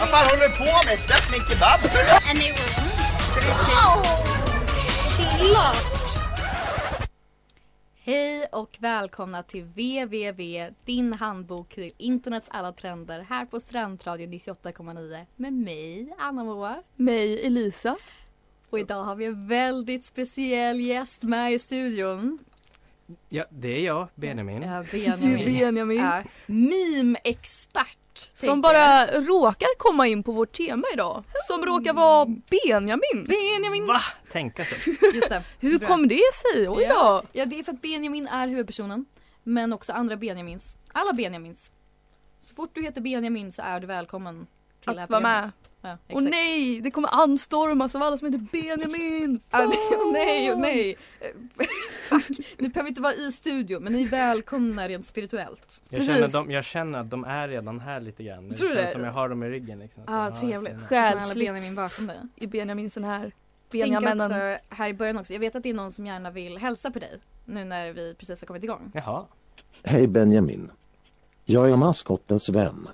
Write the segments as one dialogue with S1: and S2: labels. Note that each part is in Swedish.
S1: Vad fan håller du på med? Släpp min kebab!
S2: and they were wow.
S3: Hej och välkomna till www, din handbok till internets alla trender här på Strandradion 98,9 med mig, Anna Moa.
S4: Mig Elisa.
S3: Och idag har vi en väldigt speciell gäst med i studion.
S5: Ja, det är jag, Benjamin.
S3: Ja,
S4: Det är
S3: Benjamin.
S4: Benjamin.
S3: Ja, Meme-expert.
S4: Som
S3: tänker jag.
S4: bara råkar komma in på vårt tema idag. Som råkar vara
S3: Hmm.
S4: Benjamin.
S3: Benjamin!
S5: Va? Tänka så.
S3: Just det.
S4: Hur
S3: Bra.
S4: kom det sig? Oj då.
S3: Ja, det är för att Benjamin är huvudpersonen. Men också andra Benjamins. Alla Benjamins. Så fort du heter Benjamin så är du välkommen till det här
S4: Att vara med.
S3: programmet. Ja,
S4: Och
S3: exakt.
S4: nej, det kommer anstormas av alla som heter Benjamin.
S3: Ja, det- åh, nej, åh, nej. Fuck. Ni behöver inte vara i studion men ni är välkomna rent spirituellt.
S5: Jag
S4: Precis.
S5: känner, att de, jag känner att de är redan här lite grann. Det
S4: Tror du
S5: känns
S4: det?
S5: som jag har dem i ryggen. Liksom. Att de har-
S3: Alla Benjamin
S4: Själsligt
S3: bakom dig.
S4: i Benjamin sån här.
S3: Tänk eh, också
S4: Benjaminen.
S3: här i början också, jag vet att det är någon som gärna vill hälsa på dig nu när vi precis har kommit
S4: Mm.
S3: igång.
S5: Jaha.
S6: Hej Benjamin. Jag är maskottens vän.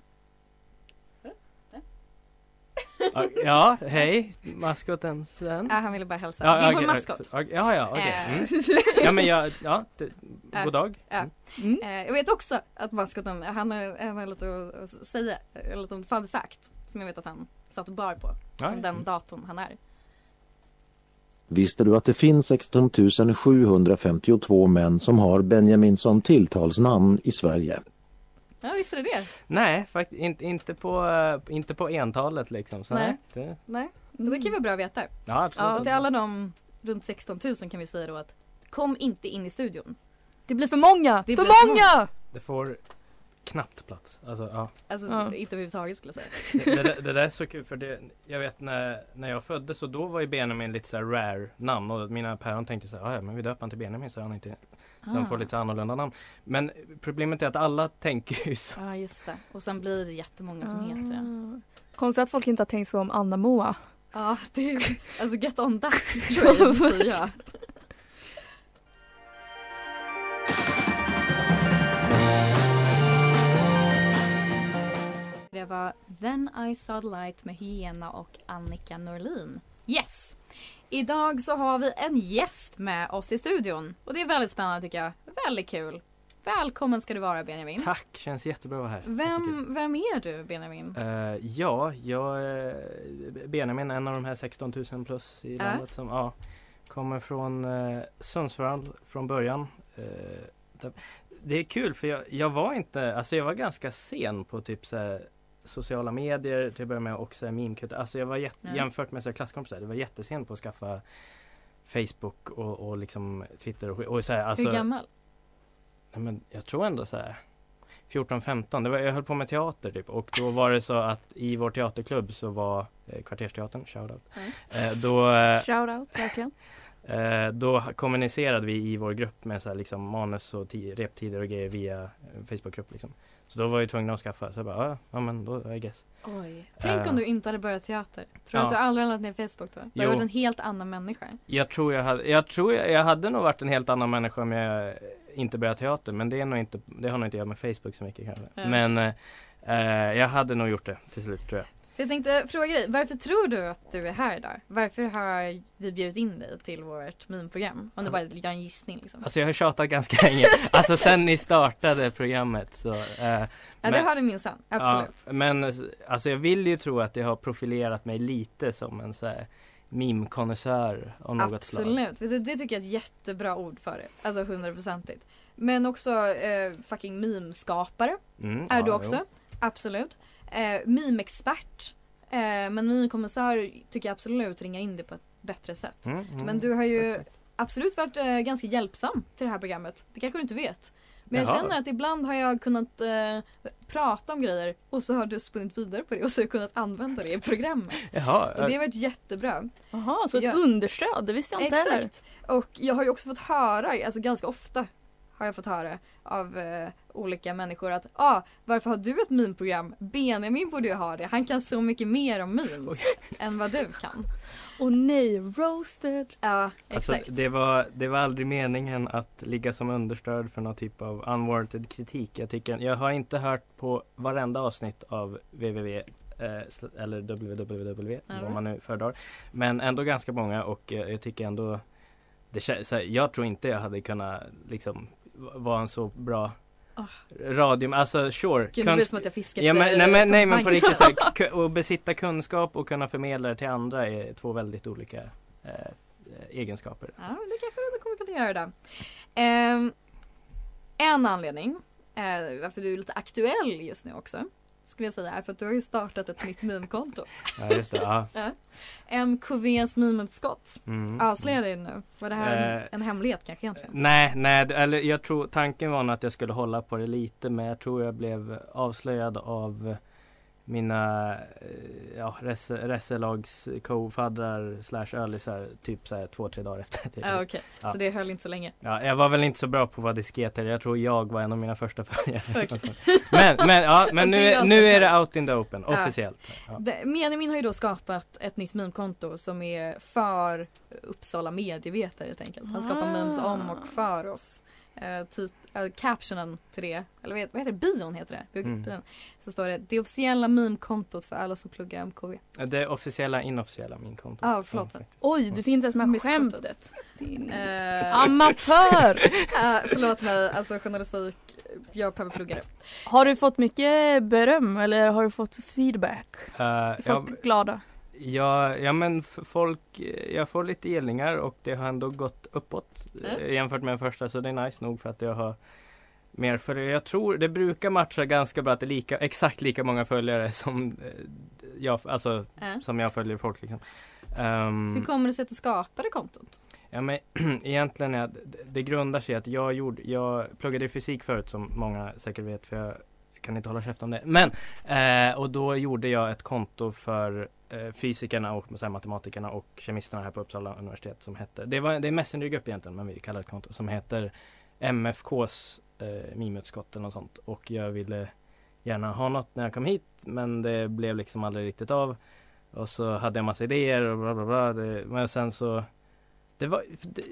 S5: Ja, Ja, hej. Maskoten Sven.
S3: Äh, han ville bara hälsa.
S5: Ja,
S3: det är
S5: okej,
S3: vår maskot.
S5: ja, okej, Ja, ja, okej.
S3: Äh.
S5: Mm. Ja, men jag, ja, det,
S3: Äh.
S5: god dag.
S3: Äh.
S5: Mm.
S3: Eh, jag vet också att maskoten, han har, han har lite att- att säga, en liten fun fact som jag vet att han satt och bar på.
S5: Ja,
S3: som
S5: ja.
S3: den datorn han är.
S6: Visste du att det finns 16 752 män som har Benjamin som tilltalsnamn i Sverige?
S3: Ja visst är det det.
S5: Nej, faktiskt inte, inte, på, eh, inte på entalet liksom. Så,
S3: Nej.
S5: Det,
S3: Nej, men det kan ju vara bra att veta.
S5: ja, absolut.
S3: Och till alla de runt 16 000 kan vi säga då att kom inte in i studion.
S4: Det blir för många!
S3: Det
S4: för
S3: blir för
S4: många!
S5: Det får knappt plats. Alltså, ja.
S3: Alltså
S4: Ja.
S3: inte överhuvudtaget skulle jag säga.
S5: det, det, det där är så kul för det, jag vet när, när jag föddes och då var ju Benjamin lite så här rare namn och mina päron tänkte så här, "Ah, ja men vi döper han till Benjamin så han inte, så han
S3: Ah.
S5: får lite så här annorlunda namn. Men problemet är att alla tänker ju så.
S3: Ja just det. Och sen blir det jättemånga
S4: Ah.
S3: som heter det.
S4: Konstigt att folk inte har tänkt så om Anna Moa.
S3: Ja, det är, alltså get on that train säger jag. Det var Then I saw the light med Hyena och Annika Norlin. Yes! Idag så har vi en gäst med oss i studion och det är väldigt spännande tycker jag. Väldigt kul. Välkommen ska du vara Benjamin.
S5: Tack, känns jättebra att vara här. Jättekul.
S3: Vem, vem är du Benjamin?
S5: Eh, ja, jag, eh, Benjamin, en av de här 16 000 plus i
S3: Ja.
S5: landet som ja, kommer från eh, Sundsvall från början. Eh, där- det är kul för jag, jag var inte, alltså jag var ganska sen på typ så här, sociala medier till att börja med och så här meme-kultur. Alltså jag var jätt,
S3: Ja.
S5: jämfört med så här klasskompisar, det var jättesen på att skaffa Facebook och, och liksom Twitter och, skit- och så här, alltså,
S3: Hur gammal?
S5: Nej, men jag tror ändå så här 14-15, det var, jag höll på med teater typ och då var det så att i vår teaterklubb så var eh, Kvartersteatern, shoutout,
S3: Mm.
S5: eh, då, eh,
S4: Shoutout, verkligen.
S5: eh, då kommunicerade vi i vår grupp med så här, liksom, manus och ti- reptider och grejer via eh, Facebookgrupp liksom. Så då var jag tvungen att skaffa, så jag bara, "Ah, ja men då, I guess.
S3: Oj. Tänk
S5: Eh.
S3: om du inte hade börjat teater. Tror du
S5: Ja.
S3: att du aldrig hade lagt ner Facebook då? Du
S5: Jo.
S3: hade varit en helt annan människa.
S5: Jag tror jag hade, jag tror jag, jag hade nog varit en helt annan människa om jag inte börjat teater men det är nog inte, det har nog inte jag med Facebook så mycket kanske.
S3: Ja.
S5: Men eh, eh, jag hade nog gjort det till slut tror jag.
S3: Jag tänkte fråga dig, varför tror du att du är här idag? Varför har vi bjudit in dig till vårt meme-program? Om du bara gör en gissning liksom.
S5: Alltså jag har tjatat ganska länge, alltså sen ni startade programmet så eh,
S3: ja, det
S5: men-
S3: har du minsann. Absolut.
S5: Ja, men eh, alltså jag vill ju tro att det har profilerat mig lite som en så här meme-konnässör av något slag
S3: Absolut. Vet du, det tycker jag är ett jättebra ord för det. Alltså hundraprocentigt. Men också eh, fucking meme-skapare
S5: Mm,
S3: är
S5: ja,
S3: du
S5: jo.
S3: också. Absolut. Eh, meme-expert. Eh, men meme-kommissar tycker jag absolut ringa in det på ett bättre sätt.
S5: Mm, mm.
S3: Men du har ju absolut varit eh, ganska hjälpsam till det här programmet. Det kanske du inte vet. Men jag
S5: Jaha.
S3: känner att ibland har jag kunnat eh, prata om grejer och så har du spunnit vidare på det och så har jag kunnat använda det i programmet.
S5: Jaha,
S3: Och det har varit jättebra.
S4: Jaha, så ett
S3: Ja.
S4: understöd, det visste jag inte heller.
S3: Exakt. Och jag har ju också fått höra, alltså ganska ofta har jag fått höra av eh, olika människor att ah, varför har du ett meme-program? Benjamin borde ju ha det. Han kan så mycket mer om memes än vad du kan.
S4: Och nej, roasted.
S3: Ja,
S5: Alltså,
S3: exakt.
S5: det, var, det var aldrig meningen att ligga som understöd för någon typ av unwarranted kritik. Jag, tycker, jag har inte hört på varenda avsnitt av www eh, sl- eller www,
S3: Nej.
S5: vad man nu föredrar. Men ändå ganska många och eh, jag tycker ändå det kä- så här, Jag tror inte jag hade kunnat liksom v- vara en så bra
S3: Ah.
S5: radio, alltså sure.
S3: Gud, nu blir det
S5: kunst-
S3: som att jag fiskat
S5: Ja,
S3: dig
S5: men, nej, men, nej men på
S3: banken.
S5: riktigt, så här, ku- att besitta kunskap och kunna förmedla det till andra är två väldigt olika eh, eh, egenskaper.
S3: Ja, men det kanske vi kommer kunna göra det. Ehm, en anledning eh, varför du är lite aktuell just nu också skulle jag säga är för att du har ju startat ett nytt meme-konto.
S5: Ja just det, ja.
S3: MKVs meme-utskott.
S5: Mm.
S3: Avslöja det nu. Var det här en,
S5: Eh,
S3: en hemlighet kanske egentligen?
S5: Nej, nej, det- eller jag tror tanken var nog att jag skulle hålla på det lite men jag tror jag blev avslöjad av mina eh, ja, res- reselags co-faddrar slash ölisar typ så här, två, tre dagar efter. att jag-
S3: Ja, Ah, okej.
S5: Ja.
S3: Så det höll inte så länge.
S5: Ja, jag var väl inte så bra på att vara diskret eller jag tror jag var en av mina första följare.
S3: Okej.
S5: Men, men, ja, men
S3: Det är
S5: nu,
S3: alltså-
S5: nu är det out in the open,
S3: Ja.
S5: officiellt. Ja.
S3: Det- Benjamin har ju då skapat ett nytt meme-konto som är för Uppsala medievetare helt enkelt. Han skapar
S4: Ah.
S3: memes om och för oss. Eh, tit- eh, captionen till det, eller vad heter- vad heter det? Bion heter det.
S5: Mm.
S3: Bion. Så står det det officiella meme-kontot för alla som pluggar MKV.
S5: Det officiella, inofficiella min konto.
S3: Ja, förlåt.
S5: Ja,
S4: Oj, du fick inte ens med
S3: Missförstått.
S4: skämtet.
S3: Eh,
S4: Din...
S5: Mm.
S4: Amatör!
S3: eh, förlåt mig, alltså journalistik, jag behöver plugga det.
S4: Har du fått mycket beröm eller har du fått feedback?
S5: Eh,
S4: Är
S5: ja,
S4: Folk glada?
S5: ja, ja men f- folk, eh, jag får lite elningar och det har ändå gått uppåt eh, jämfört med den första så det är nice nog för att jag har mer följare. Jag tror det brukar matcha ganska bra att det är lika, exakt lika många följare som eh, jag, alltså
S3: Eh,
S5: som jag följer folk liksom. Ehm,
S3: Hur kommer det sig att du skapade kontot?
S5: Ja men egentligen är det, det grundar sig i att jag gjorde, jag pluggade ju fysik förut som många säkert vet för jag kan inte hålla käften om det. Men, eh, och då gjorde jag ett konto för eh, fysikerna och så här, matematikerna och kemisterna här på Uppsala universitet som hette, det, var, det är en messengergrupp egentligen men vi kallar det ett konto som heter MFKs eh, mimutskotten och sånt och jag ville gärna ha något när jag kom hit men det blev liksom aldrig riktigt av. Och så hade jag massa idéer och bla bla bla. Det, men sen så det var,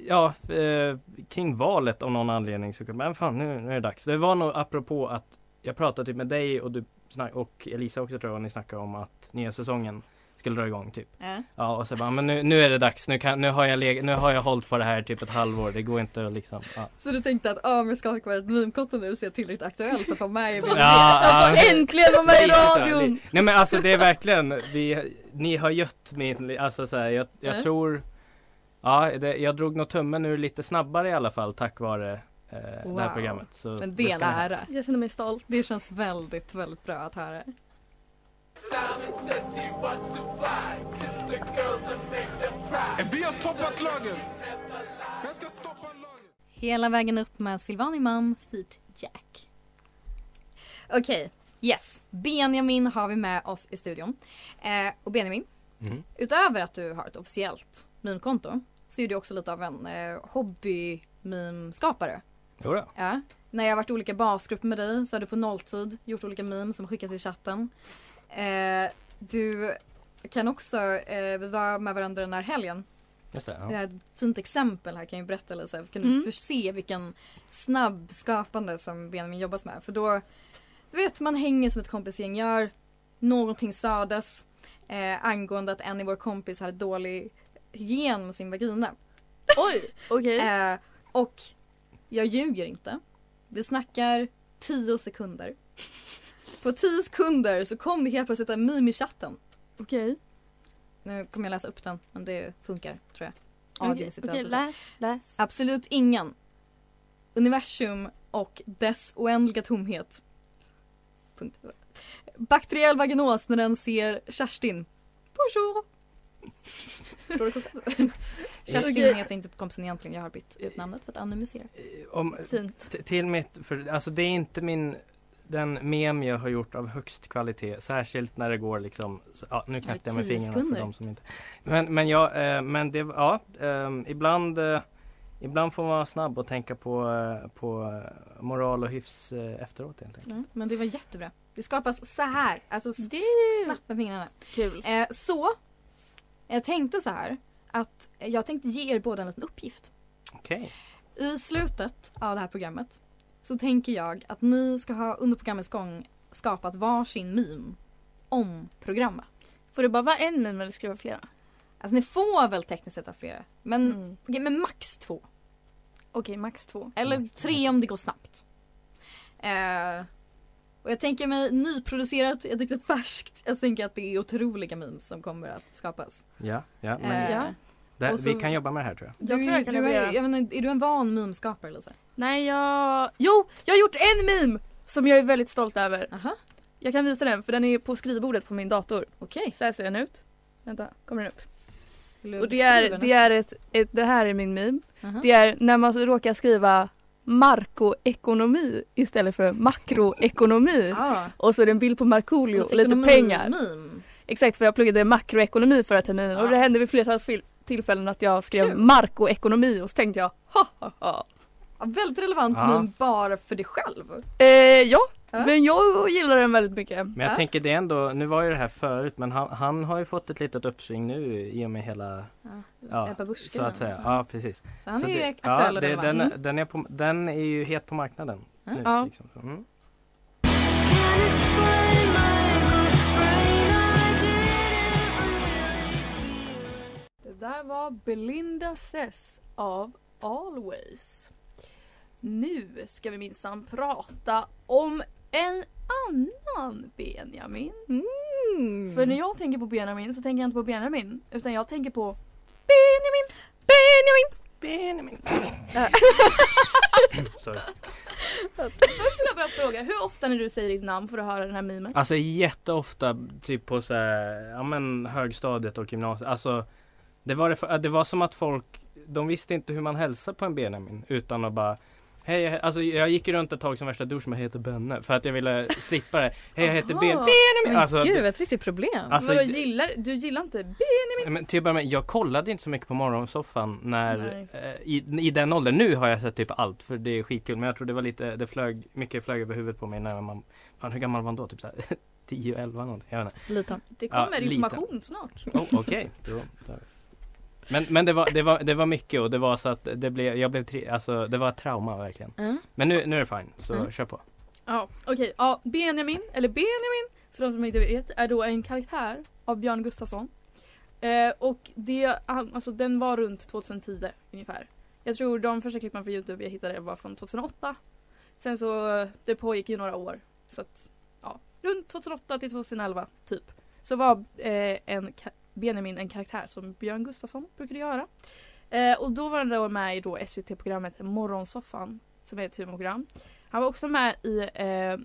S5: ja, eh, kring valet av någon anledning så kunde men fan nu, nu är det dags. Det var nog apropå att jag pratade typ med dig och du snack, och Elisa också tror jag, och ni snackade om att nya säsongen skulle dra igång typ.
S3: Eh,
S5: Ja och så bara, men nu, nu är det dags, nu, kan, nu, har jag leg- nu har jag hållit på det här typ ett halvår, det går inte att liksom, ja.
S3: Så du tänkte att ah, om jag skapar ett meme-konto nu så är jag tillräckligt aktuell för att vara med i
S5: Ja,
S4: Jag får äntligen vara med i
S5: Lite så här,
S4: radion!
S5: li- Ah. Nej men alltså det är verkligen, vi, ni har gött min, alltså så här, jag, jag
S3: Mm.
S5: tror Ja, det, jag drog nog tummen ur lite snabbare i alla fall tack vare eh, det
S3: Wow.
S5: här programmet. Så
S3: Men det är en
S5: ska ni ha.
S3: ära.
S4: Jag känner mig stolt.
S3: Det känns väldigt, väldigt bra att höra.
S7: Vi har toppat lagen! Jag ska stoppa lagen!
S3: Hela vägen upp med Silvan Imam feat Jack. Okej, yes. Benjamin har vi med oss i studion. Eh, och Benjamin,
S5: Mm.
S3: utöver att du har ett officiellt meme-konto så är du också lite av en eh, hobby-meme-skapare.
S5: Jodå.
S3: Ja. När jag har varit i olika basgrupper med dig så har du på nolltid gjort olika memes som skickas i chatten. Eh, du kan också, eh, vi var med varandra den här helgen
S5: Just det,
S3: Jag
S5: ja.
S3: har ett fint exempel här kan jag berätta Lisa. Kan
S4: Mm.
S3: du först se vilken snabb skapande som Benjamin jobbas med. För då, du vet man hänger som ett kompisgäng gör. Någonting sades eh, angående att en i vår kompis hade dålig hygien med sin vagina.
S4: Oj, okej.
S3: Eh, och jag ljuger inte. Vi snackar 10 sekunder. På 10 sekunder så kom det helt plötsligt en meme i chatten.
S4: Okej.
S3: Nu kommer jag läsa upp den men det funkar tror jag.
S4: Okej,
S3: Audio-situerat
S4: okej,
S3: och så.
S4: läs, läs.
S3: Absolut ingen. Universum och dess oändliga tomhet. Punkt. Bakteriell vaginos när den ser Kerstin. Bonjour! Förstår du konceptet? Kerstin
S4: Okej.
S3: heter inte kompisen egentligen, jag har bytt ut namnet för att anonymisera.
S5: Om,
S4: Fint.
S5: t- till mitt, för, alltså det är inte min det- den mem jag har gjort av högst kvalitet, särskilt när det går liksom, så- ja nu knäckte jag med
S3: tio
S5: fingrarna
S3: sekunder.
S5: för de som inte Men, men ja, eh, men det, ja, ehm, ibland eh, Ibland får man vara snabb och tänka på, eh, på eh, moral och hyfs eh, efteråt helt enkelt.
S3: Mm, men det var jättebra. Det skapas så här, alltså s-
S4: Det-
S3: s- snabbt med fingrarna.
S4: Kul.
S3: Eh, så, jag tänkte så här att jag tänkte ge er båda en liten uppgift.
S5: Okej.
S3: I slutet av det här programmet så tänker jag att ni ska ha under programmets gång skapat varsin meme om programmet.
S4: Får det bara vara en meme eller ska det vara flera?
S3: Alltså ni får väl tekniskt sett ha flera, men,
S4: Mm.
S3: okej, men max två.
S4: Okej, max två.
S3: Eller
S5: Max två.
S3: tre om det går snabbt. Eh, och jag tänker mig nyproducerat, jag tänker färskt. Jag tänker att det är otroliga memes som kommer att skapas.
S5: Ja, ja, men
S3: Eh,
S4: Ja.
S5: där,
S3: och så-
S5: vi kan jobba med det här tror jag.
S3: Du,
S4: Jag tror jag kan
S3: du är,
S4: leverera.
S3: jag vet inte, är du en van memeskapare Lisa?
S4: Nej, jag... Jo! Jag har gjort en meme! Som jag är väldigt stolt över.
S3: Aha,
S4: Jag kan visa den för den är på skrivbordet på min dator.
S3: okej.
S4: Så här ser den ut. Vänta, kommer den upp?
S3: Vill du
S4: Och det
S3: beskriva
S4: är,
S3: den?
S4: det är ett, ett, det här är min meme.
S3: Aha.
S4: Det är när man råkar skriva markoekonomi istället för makroekonomi.
S3: ah,
S4: Och så är det en bild på Markoolio och
S3: Alltså,
S4: lite
S3: ekonomi-
S4: pengar.
S3: Meme.
S4: Exakt för jag pluggade makroekonomi förra terminen och
S3: Ja.
S4: det hände vid flertal fil- tillfällen att jag skrev
S3: Kul.
S4: markoekonomi och så tänkte jag ha ha ha.
S3: Ja, väldigt relevant
S5: Ja.
S3: meme bara för dig själv.
S4: Eh, ja,
S3: Ja.
S4: men jag gillar den väldigt mycket.
S5: Men jag
S3: Ja.
S5: tänker det är ändå, nu var ju det här förut men han, han har ju fått ett litet uppsving nu i och med hela
S3: Ja,
S5: Ja,
S3: Ebba Busch
S5: så att säga. Ja precis.
S3: Så han
S5: så
S3: är
S5: det-
S3: aktuell
S5: ja,
S3: och
S5: det,
S3: relevant. Mm.
S5: den, den, är på, den är ju het på marknaden. Nu,
S4: Ja.
S5: liksom. Så, mm.
S8: Det där var Belinda Sess av Always.
S4: Nu ska vi minsann prata om en annan Benjamin.
S3: Mm.
S4: För när jag tänker på Benjamin så tänker jag inte på Benjamin utan jag tänker på Benjamin, Benjamin.
S5: Sorry.
S4: Först vill jag bara fråga, hur ofta när du säger ditt namn får du höra den här mimen?
S5: Alltså jätteofta typ på så här, ja men högstadiet och gymnasiet. Alltså det var, det, för- det var som att folk, de visste inte hur man hälsar på en Benjamin utan att bara Hej, jag he-" alltså jag gick ju runt ett tag som värsta douchen men jag heter Benne för att jag ville slippa det. Hej jag heter
S4: Jaha.
S5: Ben.
S3: Men
S5: Benjamin! Alltså,
S3: gud,
S5: det-
S3: det var ett riktigt problem.
S5: Alltså,
S4: Vadå,
S5: det-
S4: gillar, du gillar inte Benjamin?
S5: Nej, Men till att börja med, jag kollade inte så mycket på morgonsoffan när,
S4: Nej.
S5: eh, i, i den åldern. Nu har jag sett typ allt för det är skitkul. Men jag tror det var lite, det flög, mycket flög över huvudet på mig när man, fan hur gammal var man då? Typ såhär 10, 11 någonting. Jag vet inte.
S3: Liten.
S4: Det
S5: Ja,
S4: kommer
S5: lite.
S4: information snart.
S5: Oh, Okej. Då- där. Men, men det, var, det, var, det var mycket och det var så att det blev, jag blev, tri- alltså det var ett trauma verkligen.
S3: Mm.
S5: Men nu, nu är det fine, så
S3: Mm.
S5: kör på.
S4: Ja, okej. Ja, Benjamin, eller Benjamin, för de som inte vet, är då en karaktär av Björn Gustafsson. Eh, och det, han- alltså, den var runt 2010 ungefär. Jag tror de första klippen från Youtube jag hittade var från 2008. Sen så, eh, det pågick ju några år. Så att, ja, runt 2008 till 2011 typ. Så var eh, en, ka- Benjamin en karaktär som Björn Gustafsson brukade göra. Eh, och då var han då med i då SVT-programmet Morgonsoffan, som är ett humorprogram. Han var också med i eh,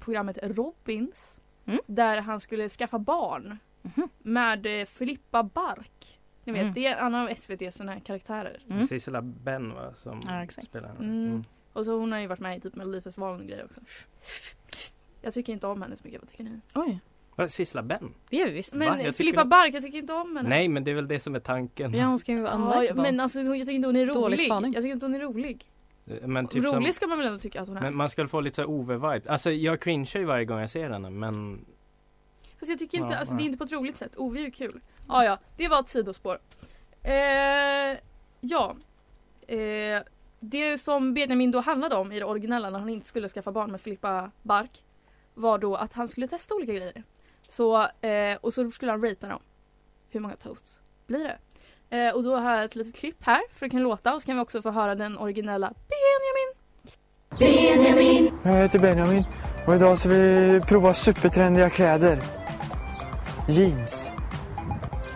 S4: programmet Robins.
S3: Mm.
S4: Där han skulle skaffa barn.
S3: Mhm.
S5: Mm.
S4: Med eh, Filippa Bark. Ni vet,
S3: Mm.
S4: det är en annan av SVTs såna här karaktärer.
S3: Mm.
S5: Sissela Ben va, som
S3: Ja, exakt.
S5: spelar henne.
S4: Mm. Och så hon har ju varit med i typ Melodifestivalen och grejer också. Jag tycker inte om henne så mycket, vad tycker ni?
S3: Oj,
S5: Vadå, Sissela Ben?
S3: det gör vi visst.
S5: Va? Jag
S4: Men
S5: tycker
S4: Filippa
S5: ni-
S4: Bark, jag tycker inte om henne.
S5: Nej men det är väl det som är tanken.
S3: Ja, hon ska ju vara
S4: Ja,
S3: unlikable.
S4: men alltså, hon- jag tycker inte hon är rolig.
S3: Dålig spaning.
S4: Jag tycker inte hon är rolig.
S5: Men typ som-
S4: rolig ska man väl ändå tycka att hon är.
S5: Men man skulle få lite så här Ove-vibe. Alltså jag cringear ju varje gång jag ser henne men
S4: Fast jag tycker inte,
S5: Ja,
S4: alltså
S5: nej.
S4: det är inte på ett roligt sätt. Ove är ju kul. Ja, ja, det var ett sidospår. Eh, ja. Eh, det som Benjamin då handlade om i det originella när han inte skulle skaffa barn med Filippa Bark var då att han skulle testa olika grejer. Så, eh, och så skulle han ratea dem. Hur många toasts blir det? Eh, och då har jag ett litet klipp här för det kan låta och så kan vi också få höra den originella Benjamin.
S9: Jag heter Benjamin och idag ska vi prova supertrendiga kläder. Jeans.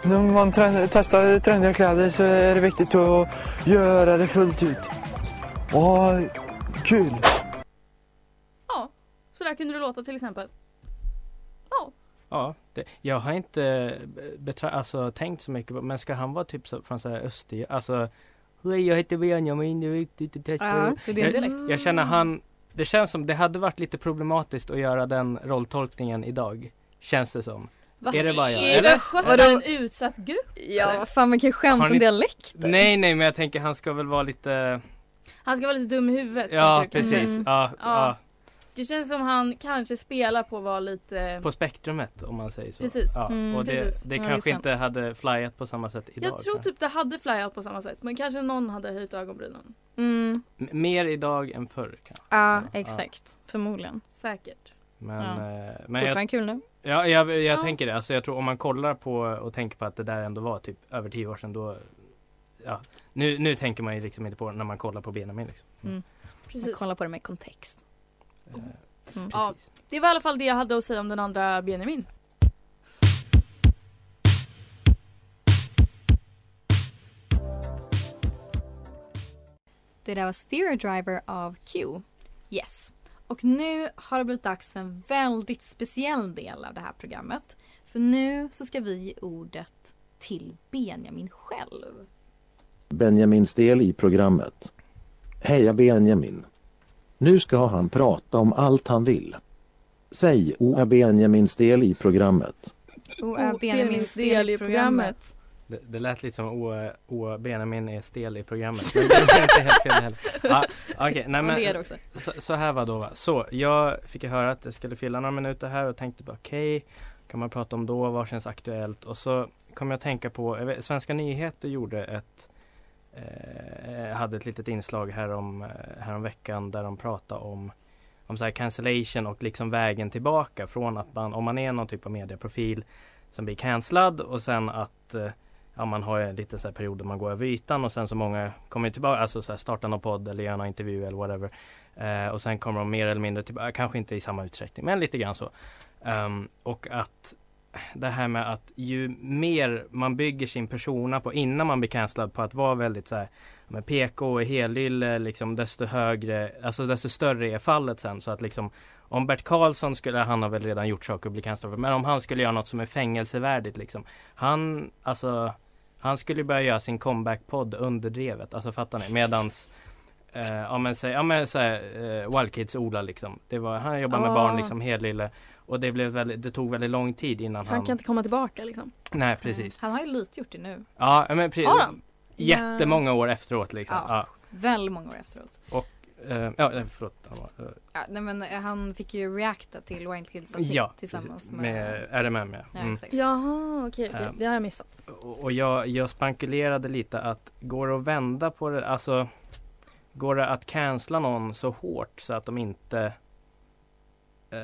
S9: När man tre- testar trendiga kläder så är det viktigt att göra det fullt ut. Och ha kul.
S4: Ja, så där kunde det låta till exempel.
S5: ja. Det, jag har inte betra- alltså, tänkt så mycket på, men ska han vara typ så, från så här Östergötland? Alltså Hej jag heter Benjamin, det är viktigt att testa.
S3: Ja, det är din
S5: jag,
S3: dialekt.
S5: jag känner han Det känns som det hade varit lite problematiskt att göra den rolltolkningen idag. Känns det som.
S3: Vad
S5: Är det bara jag?
S4: Är det
S5: Eller?
S4: sjutton
S3: Vadå?
S4: en utsatt grupp?
S3: Ja, vad fan man kan ju skämta
S5: Har
S3: om
S5: ni-
S3: dialekter.
S5: Nej nej men jag tänker han ska väl vara lite
S4: Han ska vara lite dum i huvudet.
S5: Ja
S4: tänker du kanske.
S5: precis,
S3: Mm.
S5: ja,
S4: Ja.
S5: ja.
S4: Det känns som han kanske spelar på att vara lite...
S5: på spektrumet om man säger så.
S4: Precis.
S5: Ja.
S3: Mm,
S5: och det,
S4: precis.
S5: det
S3: Ja, det är
S5: kanske
S3: sant.
S5: inte hade flyat på samma sätt idag.
S4: jag tror typ det hade flyat på samma sätt men kanske någon hade höjt ögonbrynen.
S3: Mm,
S5: M- Mer idag än förr kanske.
S3: ja,
S5: Ja,
S3: exakt. Förmodligen.
S4: Säkert.
S5: Men,
S3: Ja.
S5: eh, men jag,
S3: Fortfarande kul nu.
S5: ja, jag, jag
S4: Ja.
S5: tänker det. Alltså, jag tror om man kollar på och tänker på att det där ändå var typ över tio år sedan då Ja, nu, nu tänker man ju liksom inte på det när man kollar på Benjamin liksom.
S4: Precis.
S3: Kolla på det med kontext.
S5: Eh,
S3: Mm.
S4: Ja.
S5: Precis.
S4: Det var i alla fall det jag hade att säga om den andra Benjamin.
S3: Det där var Steer Driver av Q. Yes. Och nu har det blivit dags för en väldigt speciell del av det här programmet. För nu så ska vi ge ordet till Benjamin själv.
S6: Benjamins del i programmet. Heja Benjamin! Nu ska han prata om allt han vill. Säg Oa Benjamins del i programmet.
S3: Och eh,
S4: är Benjamins del i programmet.
S5: Det, det lät lite som o, o Benjamin är stel i programmet. Men det är inte helt fel heller. Ja, okej, nej,
S3: Men
S5: men,
S3: det är det också.
S5: Så, så här var då va. Så jag fick ju höra att jag skulle fylla några minuter här och tänkte bara okej, kan man prata om då, vad känns aktuellt? Och så kom jag att tänka på, jag vet, Svenska nyheter gjorde ett eh, hade ett litet inslag härom, eh, härom veckan där de pratade om om så här cancellation och liksom vägen tillbaka från att man, om man är någon typ av medieprofil som blir cancellad och sen att eh, ja, man har ju lite så här perioder man går över ytan och sen så många kommer tillbaka, alltså så här starta någon podd eller göra någon intervju eller whatever. Eh, och sen kommer de mer eller mindre tillbaka, kanske inte i samma utsträckning men lite grann så. Ehm, och att det här med att ju mer man bygger sin persona på innan man blir cancellad på att vara väldigt så här med PK och helylle liksom desto högre, alltså desto större är fallet sen så att liksom om Bert Karlsson skulle, han har väl redan gjort saker och bli cancellad för, men om han skulle göra något som är fängelsevärdigt liksom. Han, alltså, han skulle ju börja göra sin comeback-podd under drevet, alltså fattar ni? Medans eh, ja men säg, ja men såhär, eh, Wild Kids Ola liksom. Det var, han jobbade med
S4: Ah.
S5: barn liksom, helylle. Och det blev väldigt, det tog väldigt lång tid innan han...
S4: Han kan inte komma tillbaka liksom.
S5: Nej precis.
S3: Han har ju lite gjort det nu.
S5: Ja men precis.
S4: Har han?
S5: Jättemånga år efteråt liksom.
S3: Ja.
S5: Ja.
S3: Väl många år efteråt.
S5: Eh, Ja, eh, förlåt. han var, eh,
S3: Ja, nej men eh, han fick ju reacta till Wild Kids avsnitt
S5: Ja,
S3: tillsammans
S5: precis.
S3: med...
S5: med RMM ja.
S3: Ja,
S5: Mm.
S3: exakt.
S4: Jaha okej, okej.
S5: Ehm.
S4: det har jag missat.
S5: Och och jag, jag spankulerade lite att går det att vända på det, alltså Går det att cancella någon så hårt så att de inte eh,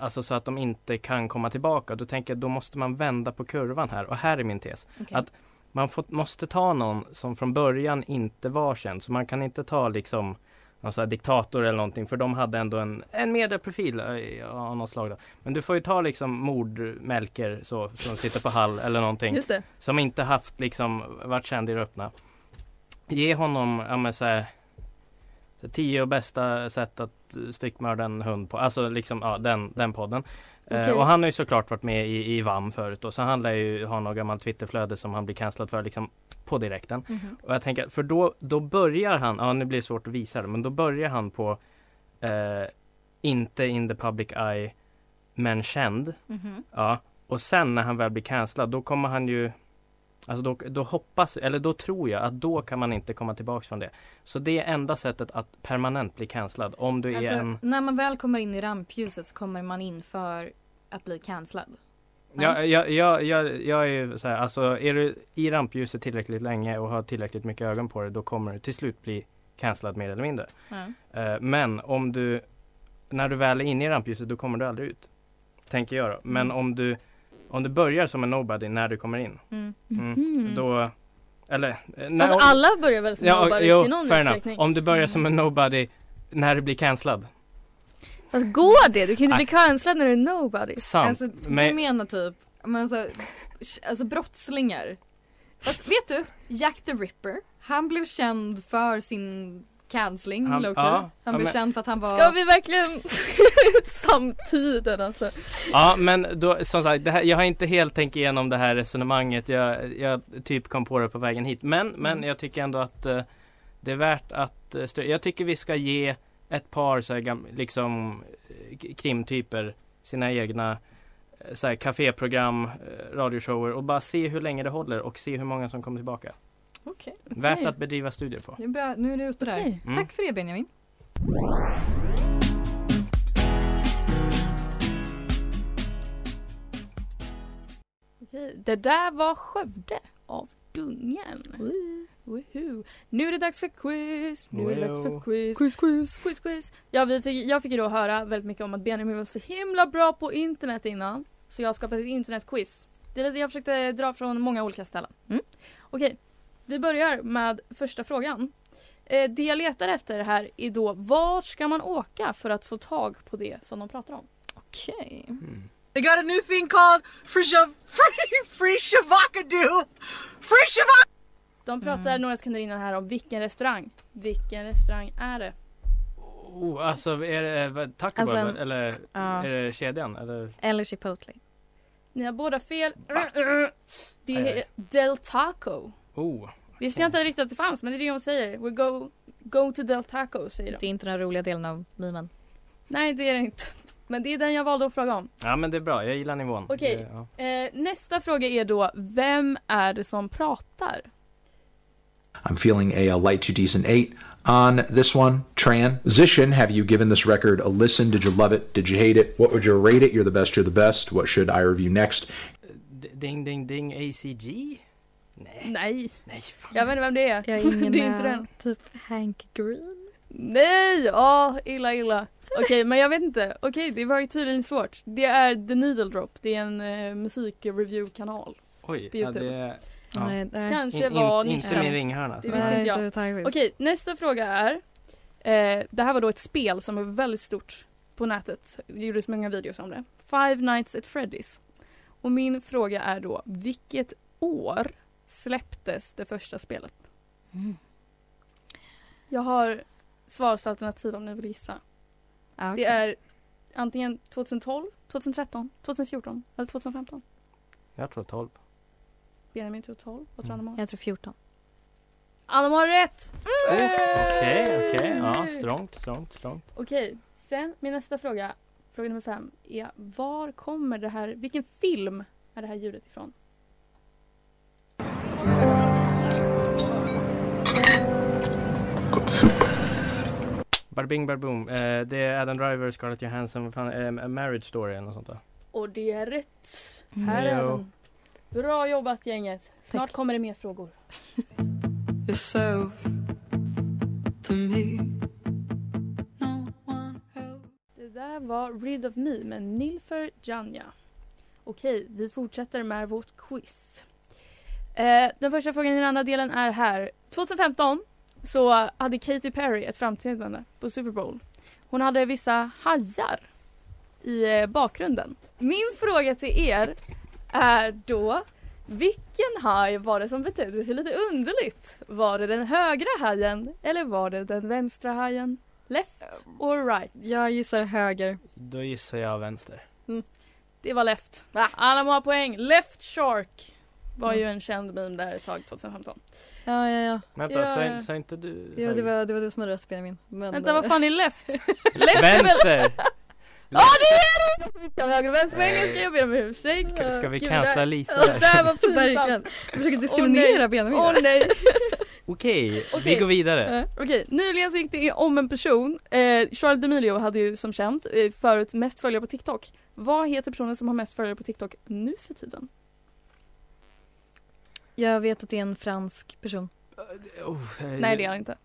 S5: Alltså så att de inte kan komma tillbaka. Då tänker jag då måste man vända på kurvan här och här är min tes.
S3: Okej.
S5: Att- Man får, måste ta någon som från början inte var känd. Så man kan inte ta liksom någon sån här diktator eller någonting för de hade ändå en, en medieprofil eh, av något slag. Då. Men du får ju ta liksom mordmälker så, som sitter på Hall eller någonting.
S4: Just det.
S5: Som inte haft liksom varit känd i det öppna. Ge honom, ja men så här, så tio bästa sätt att eh, styckmörda en hund på. Alltså liksom, ja den, den podden. Eh,
S4: Okej.
S5: och han har ju såklart varit med i, i VAM förut och så han lär ju ha något gammalt Twitterflöde som han blir cancellad för liksom på direkten.
S3: Mhm.
S5: Och jag tänker, för då, då börjar han, ja nu blir det svårt att visa det, men då börjar han på eh, inte in the public eye, men känd.
S3: Mhm.
S5: Ja, och sen när han väl blir cancellad då kommer han ju Alltså då, då hoppas, eller då tror jag att då kan man inte komma tillbaks från det. Så det är enda sättet att permanent bli cancellad om du är en
S3: Alltså, när man väl kommer in i rampljuset så kommer man in för att bli cancellad. nej.
S5: Ja, jag, jag, jag, jag är ju så här, alltså är du i rampljuset tillräckligt länge och har tillräckligt mycket ögon på dig då kommer du till slut bli cancellad mer eller mindre.
S3: Mm.
S5: Eh, men om du, när du väl är inne i rampljuset då kommer du aldrig ut. Tänker jag då. Men
S3: Mm.
S5: om du, om du börjar som en nobody när du kommer in.
S3: Mm.
S5: Mm.
S4: Mhm.
S5: Då, eller... eh,
S4: Fast
S5: om-
S4: alla börjar väl som
S5: Ja,
S4: nobodies
S5: jo,
S4: i Mm. någon
S5: fair
S4: utsträckning?
S5: enough. Om du börjar som en nobody när du blir cancellad.
S4: Mm. Fast går det? Du kan inte
S5: Nej.
S4: bli cancellad när du är nobody.
S5: Sant.
S3: Alltså, du
S5: men,
S3: menar typ, men alltså, alltså brottslingar. Fast vet du, Jack the Ripper, han blev känd för sin cancelling
S5: Han-
S3: han, low
S5: ja,
S3: key. Han
S5: ja,
S3: blev
S5: men-
S3: känd för att han var...
S4: Ska vi verkligen samtiden alltså?
S5: ja, men då, som sagt, det här, jag har inte helt tänkt igenom det här resonemanget. Jag, jag typ kom på det på vägen hit. Men, men
S3: Mm.
S5: jag tycker ändå att eh, det är värt att eh, stödja. Jag tycker vi ska ge ett par så här gam- liksom eh, k- krimtyper, sina egna eh, så här kaféprogram, eh, radioshower och bara se hur länge det håller och se hur många som kommer tillbaka.
S3: Okej.
S5: Värt att bedriva studier på.
S3: Det är bra. Nu är du ute där.
S4: Okej.
S5: Mm.
S3: Tack för det Benjamin.
S4: Okej, Det där var Skövde av Dungen. Woho. Nu är det dags för quiz, nu är det dags för
S5: Wow.
S4: quiz. Quiz, quiz. quiz, quiz. Ja, vi fick, jag fick ju då höra väldigt mycket om att Benjamin var så himla bra på internet innan. Så jag har skapat ett internetquiz. Det är lite, jag försökte dra från många olika ställen.
S3: Mm.
S4: Okej, vi börjar med första frågan. Eh, det jag letar efter här är då vart ska man åka för att få tag på det som de pratar om?
S3: Okej.
S5: Mm.
S10: They got a new thing called free shav- free free shavakadu. Free shavak.
S4: De pratar några sekunder innan här om vilken restaurang. Vilken restaurang är det?
S5: Oh, alltså är det vad, Taco
S3: Alltså,
S5: Bell eller
S3: ja.
S5: är det kedjan? Eller?
S3: Eller Chipotle.
S4: Ni har båda fel. Det
S5: Aj,
S4: är
S5: aj.
S4: Del Taco.
S5: Oh,
S4: Visste jag inte riktigt att det fanns men det är det de säger. We go, go to Del Taco säger
S3: Det
S4: de.
S3: är inte den roliga delen av memen.
S4: Nej det är det inte. Men det är den jag valde att fråga om.
S5: ja men det är bra, jag gillar nivån.
S4: Okej.
S5: Det- ja.
S4: Eh, nästa fråga är då, vem är det som pratar?
S11: I'm feeling a, uh, light to decent eight on this one. Transition. Have you given this record a listen? Did you love it? Did you hate it? What would you rate it? You're the best. You're the best. What should I review next?
S5: D- Ding ding ding ACG?
S4: Nej,
S5: Nej fan.
S4: jag vet inte vem det är.
S3: Jag är ingen
S4: det är inte den.
S3: Typ Hank Green.
S4: Nej, ja illa illa. Okej men jag vet inte. Okej det var ju tydligen svårt. Det är The Needle Drop. Det är en eh, musikreviewkanal.
S5: Oj,
S4: på
S5: ja,
S4: YouTube.
S5: det ja.
S3: Nej, nej.
S4: Kanske
S5: In-
S4: var
S5: in, Inte
S4: nischat.
S5: min ringhörna.
S4: Det
S5: Alltså.
S4: visste inte jag.
S3: Nej, tack faktiskt.
S4: Okej, nästa fråga är. Eh, det här var då ett spel som var väldigt stort på nätet. Det gjordes många videos om det. Five Nights at Freddy's. Och min fråga är då, vilket år släpptes det första spelet?
S3: Mm.
S4: Jag har svarsalternativ om ni vill gissa.
S3: Ja,
S4: Det
S3: okej.
S4: är antingen 2012, 2013, 2014 eller 2015.
S5: Jag tror 12.
S4: Benjamin tror 12, vad tror Anna-Mara?
S3: Jag tror 14.
S4: Anna-Mara har rätt!
S5: Okej,
S4: Yay!
S5: okej, ja strångt, strångt, strångt.
S4: Okej, sen min nästa fråga, fråga nummer fem, är var kommer det här, vilken film är det här ljudet ifrån?
S5: Barbing barboom. Eh, det är Adam Driver, Scarlett Johansson, vad fan, eh, A Marriage Story eller något sånt där.
S4: Och det är rätt! Här är
S5: Jo.
S4: den. Bra jobbat gänget. Snart kommer det mer frågor.
S10: Yourself to me. No one else.
S4: Det där var Rid of Me med Nilfer Janja. Okej, vi fortsätter med vårt quiz. Eh, den första frågan i den andra delen är här. 2015 så hade Katy Perry ett framträdande på Super Bowl. Hon hade vissa hajar i eh, bakgrunden. Min fråga till er är då vilken haj var det som betedde sig lite underligt? Var det den högra hajen eller var det den vänstra hajen? Left
S3: Ehm,
S4: or right?
S3: Jag gissar höger.
S5: Då gissar jag vänster.
S4: Det var left.
S3: Ah. Mm.
S4: Alla må ha poäng. Left Shark var ju en känd meme där ett tag 2015.
S3: Ja, ja, ja.
S5: Vänta,
S4: Ja,
S5: sa,
S4: ja.
S5: sa inte du
S3: Jo, det, var, det var du som hade rätt Benjamin. Men,
S4: Vänta vad fan är left? left är väl...
S5: Vänster!
S4: Ja det är det! Jag vägrar vänster på engelska, jag ber om ursäkt.
S5: Ska, ska vi
S4: Gud,
S5: cancella
S4: det
S5: Lisa?
S4: där- Det där var
S3: Verkligen.
S4: pinsamt.
S3: Jag försöker diskriminera Benjamin.
S4: Åh nej.
S5: Okej,
S4: Okej.
S5: vi går vidare.
S3: Ja.
S4: Eh, Okej, nyligen så gick det om en person. Eh, Charles D'Amelio hade ju som känt eh, förut mest följare på TikTok. Vad heter personen som har mest följare på TikTok nu för tiden?
S3: Jag vet att det är en fransk person.
S5: Oh,
S4: Nej det är han inte.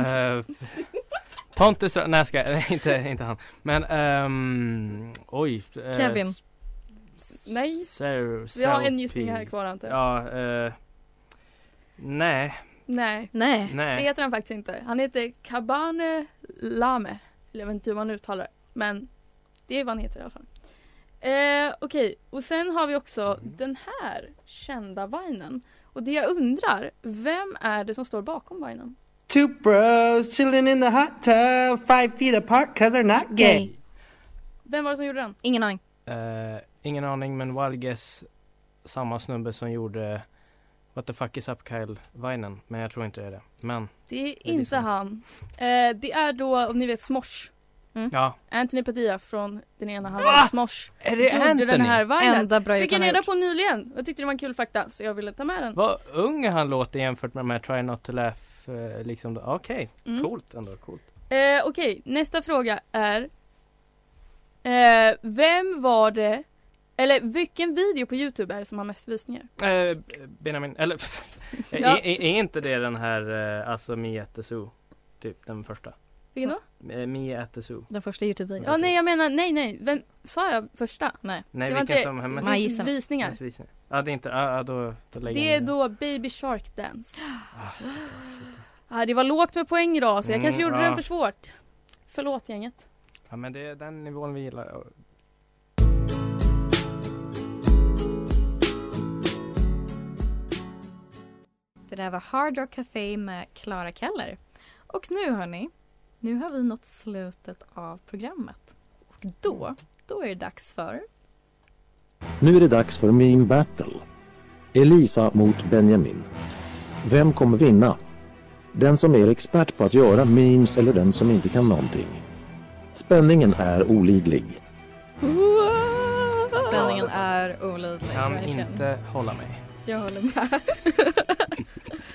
S5: Eh, Pontus, nej jag ska nej, inte, inte han. Men ehm, oj. eh,
S3: Kevin.
S5: s- s-
S4: Nej.
S5: Ser-
S4: Vi har en
S5: Selfie.
S4: gissning här kvar antar jag.
S5: Ja, eh, nej,
S4: Nej.
S3: Nej.
S4: Det
S5: nej.
S4: heter han faktiskt inte. Han heter Kabane Lame. Eller jag vet inte hur man uttalar det. Men det är vad han heter i alla fall. Eh, Okej, och sen har vi också den här kända vinen. Och det jag undrar, vem är det som står bakom vinen?
S10: Two bros chilling in the hot tub, five feet apart, cause they're not gay.
S3: Gay.
S4: Vem var det som gjorde den?
S3: Ingen aning.
S5: Eh, ingen aning men Wild Guess, samma snubbe som gjorde What the fuck is up Kyle Vinen? Men jag tror inte det är det. Men
S4: Det är
S5: är
S4: inte han. Eh, det är då, om ni vet, Smosh. Mm.
S5: ja.
S4: Anthony Padilla från den ena halvan Smosh.
S5: Är Ah! det
S4: gjorde den
S5: Anthony?
S4: här vinen.
S3: Enda bröjet
S4: Fick jag
S3: han har
S4: reda
S3: gjort.
S4: på nyligen. Jag tyckte det var en kul fakta så jag ville ta med den.
S5: Vad ung han låter jämfört med de här Try Not To Laugh eh, liksom. då. Okej,
S4: Mm.
S5: coolt ändå. Coolt.
S4: Eh, Okej, nästa fråga är eh, Vem var det Eller vilken video på Youtube är det som har mest visningar?
S5: Eh, Benjamin, eller
S4: Ja.
S5: är, är, är inte det den här eh, alltså Me at the Zoo? Typ den första?
S4: Vilken då?
S5: Eh, Me at the Zoo?
S3: Den första Youtube-videon.
S4: Ja nej jag menar, nej nej, vem, sa jag första?
S3: Nej.
S5: Nej,
S4: det var
S5: vilken
S4: inte
S5: som har mest-
S4: mest visningar.
S5: Mest visningar. Ja, det är inte, ja, ja, då, då lägger
S4: Det
S5: jag
S4: är
S5: ner.
S4: då Baby Shark Dance. Ah, det var lågt med poäng idag så jag
S5: Mm,
S4: kanske gjorde
S5: ja.
S4: den för svårt. Förlåt gänget.
S5: Ja, men det är den nivån vi gillar.
S3: Det där var Hard Rock Café med Clara Keller. Och nu hörni, nu har vi nått slutet av programmet. Och då, då är det dags för...
S6: Nu är det dags för Meme Battle. Elisa mot Benjamin. Vem kommer vinna? Den som är expert på att göra memes eller den som inte kan någonting? Spänningen är olidlig.
S3: Spänningen är olidlig.
S5: Kan
S3: verkligen.
S5: inte hålla
S4: Eh,
S5: mig.
S3: Jag håller med.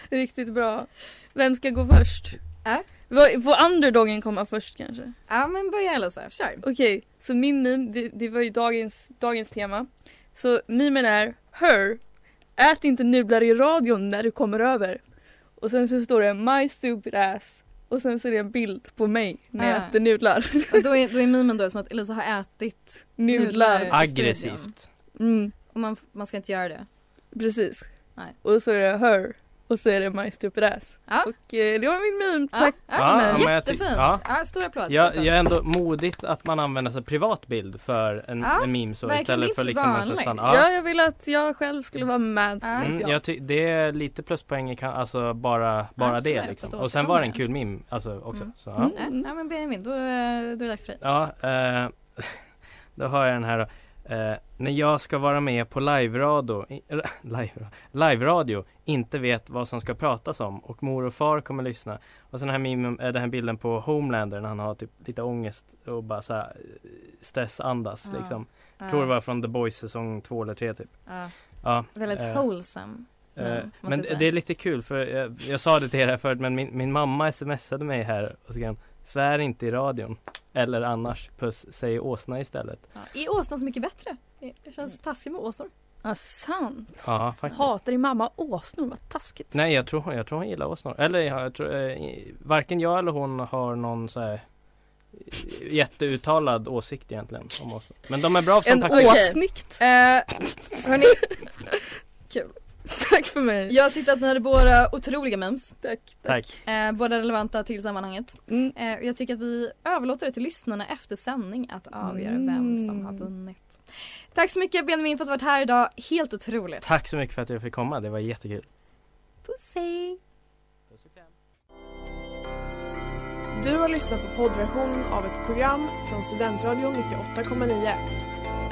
S4: Riktigt bra. Vem ska gå först?
S3: Äh?
S4: Vad- Får underdogen komma först kanske?
S3: Ja men börja Elisa, kör.
S4: Okej, så min meme, det, det var ju dagens, dagens tema. Så memen är Her, ät inte nudlar i radion när du kommer över. Och sen så står det My stupid ass. Och sen så är det en bild på mig när jag
S3: Ah.
S4: äter nudlar.
S3: Och då är, då är mimen då som att Elisa har ätit
S4: Nudlar.
S3: i studion.
S5: Aggressivt.
S4: Mm,
S3: Och man, man ska inte göra det.
S4: precis.
S3: Nej.
S4: Och så är det Her. Och så är det My stupid ass.
S3: Ja.
S4: Och eh, det var min meme.
S3: Ja,
S4: Tack.
S3: ja,
S5: Ja,
S3: men
S5: men jag ty-
S3: jättefin. Ja.
S5: ja.
S3: stor applåd.
S5: Ja,
S3: stor applåd.
S5: jag är ändå modigt att man använder sig av privat bild för en,
S3: Ja,
S5: en meme så
S3: verkligen
S5: istället
S3: inte
S5: för
S3: så
S5: liksom en sån
S3: vanligt.
S5: standard.
S4: Ja, jag ville att jag själv skulle vara med.
S3: Ja.
S4: tänkte
S5: Mm,
S4: jag.
S5: jag ty- det är lite pluspoäng i kan, alltså bara, bara
S3: Absolut,
S5: det liksom.
S3: att
S5: Och sen var det en
S3: åstadkomma
S5: kul meme alltså också. Så, ja.
S4: Mm.
S3: Nej, ja, men Benjamin, då, eh, då är det dags för dig.
S5: Ja, eh, då har jag den här då. Eh, när jag ska vara med på live-radio, i- live, live-radio, inte vet vad som ska pratas om och mor och far kommer lyssna. Och sen den här, mimen, eh, den här bilden på Homelander när han har typ lite ångest och bara så här, eh, stressandas
S3: Ja.
S5: liksom.
S3: Ja.
S5: Tror det var från The Boys säsong två eller tre typ.
S3: Ja.
S5: Ja,
S3: Väldigt
S5: eh,
S3: wholesome.
S5: Eh,
S3: måste
S5: men
S3: jag säga.
S5: det är lite kul för jag, jag sa det till er här förut men min, min mamma smsade mig här och så kan Svär inte i radion eller annars puss säg åsna istället.
S3: Är åsnan så mycket bättre? Det känns taskigt med åsnor.
S4: Ja, sant.
S5: Ja faktiskt.
S4: Hatar din mamma åsnor? Vad taskigt.
S5: Nej jag tror, jag tror hon gillar åsnor. Eller jag, jag tror, eh, i- varken jag eller hon har någon så här eh, jätteuttalad åsikt egentligen om åsnor. Men de är bra som paket.
S4: åsnikt.
S3: Eh, hörni,
S4: Tack för mig.
S3: jag tyckte att ni hade båda otroliga memes.
S4: Tack.
S5: Tack.
S3: Eh, båda relevanta till sammanhanget.
S4: Mm.
S3: Eh, och jag tycker att vi överlåter det till lyssnarna efter sändning att avgöra vem som har vunnit. Tack så mycket Benjamin för att du varit här idag. Helt otroligt.
S5: Tack så mycket för att jag fick komma, det var jättekul.
S3: Puss hej.
S8: Du har lyssnat på poddversionen av ett program från Studentradion 98,9.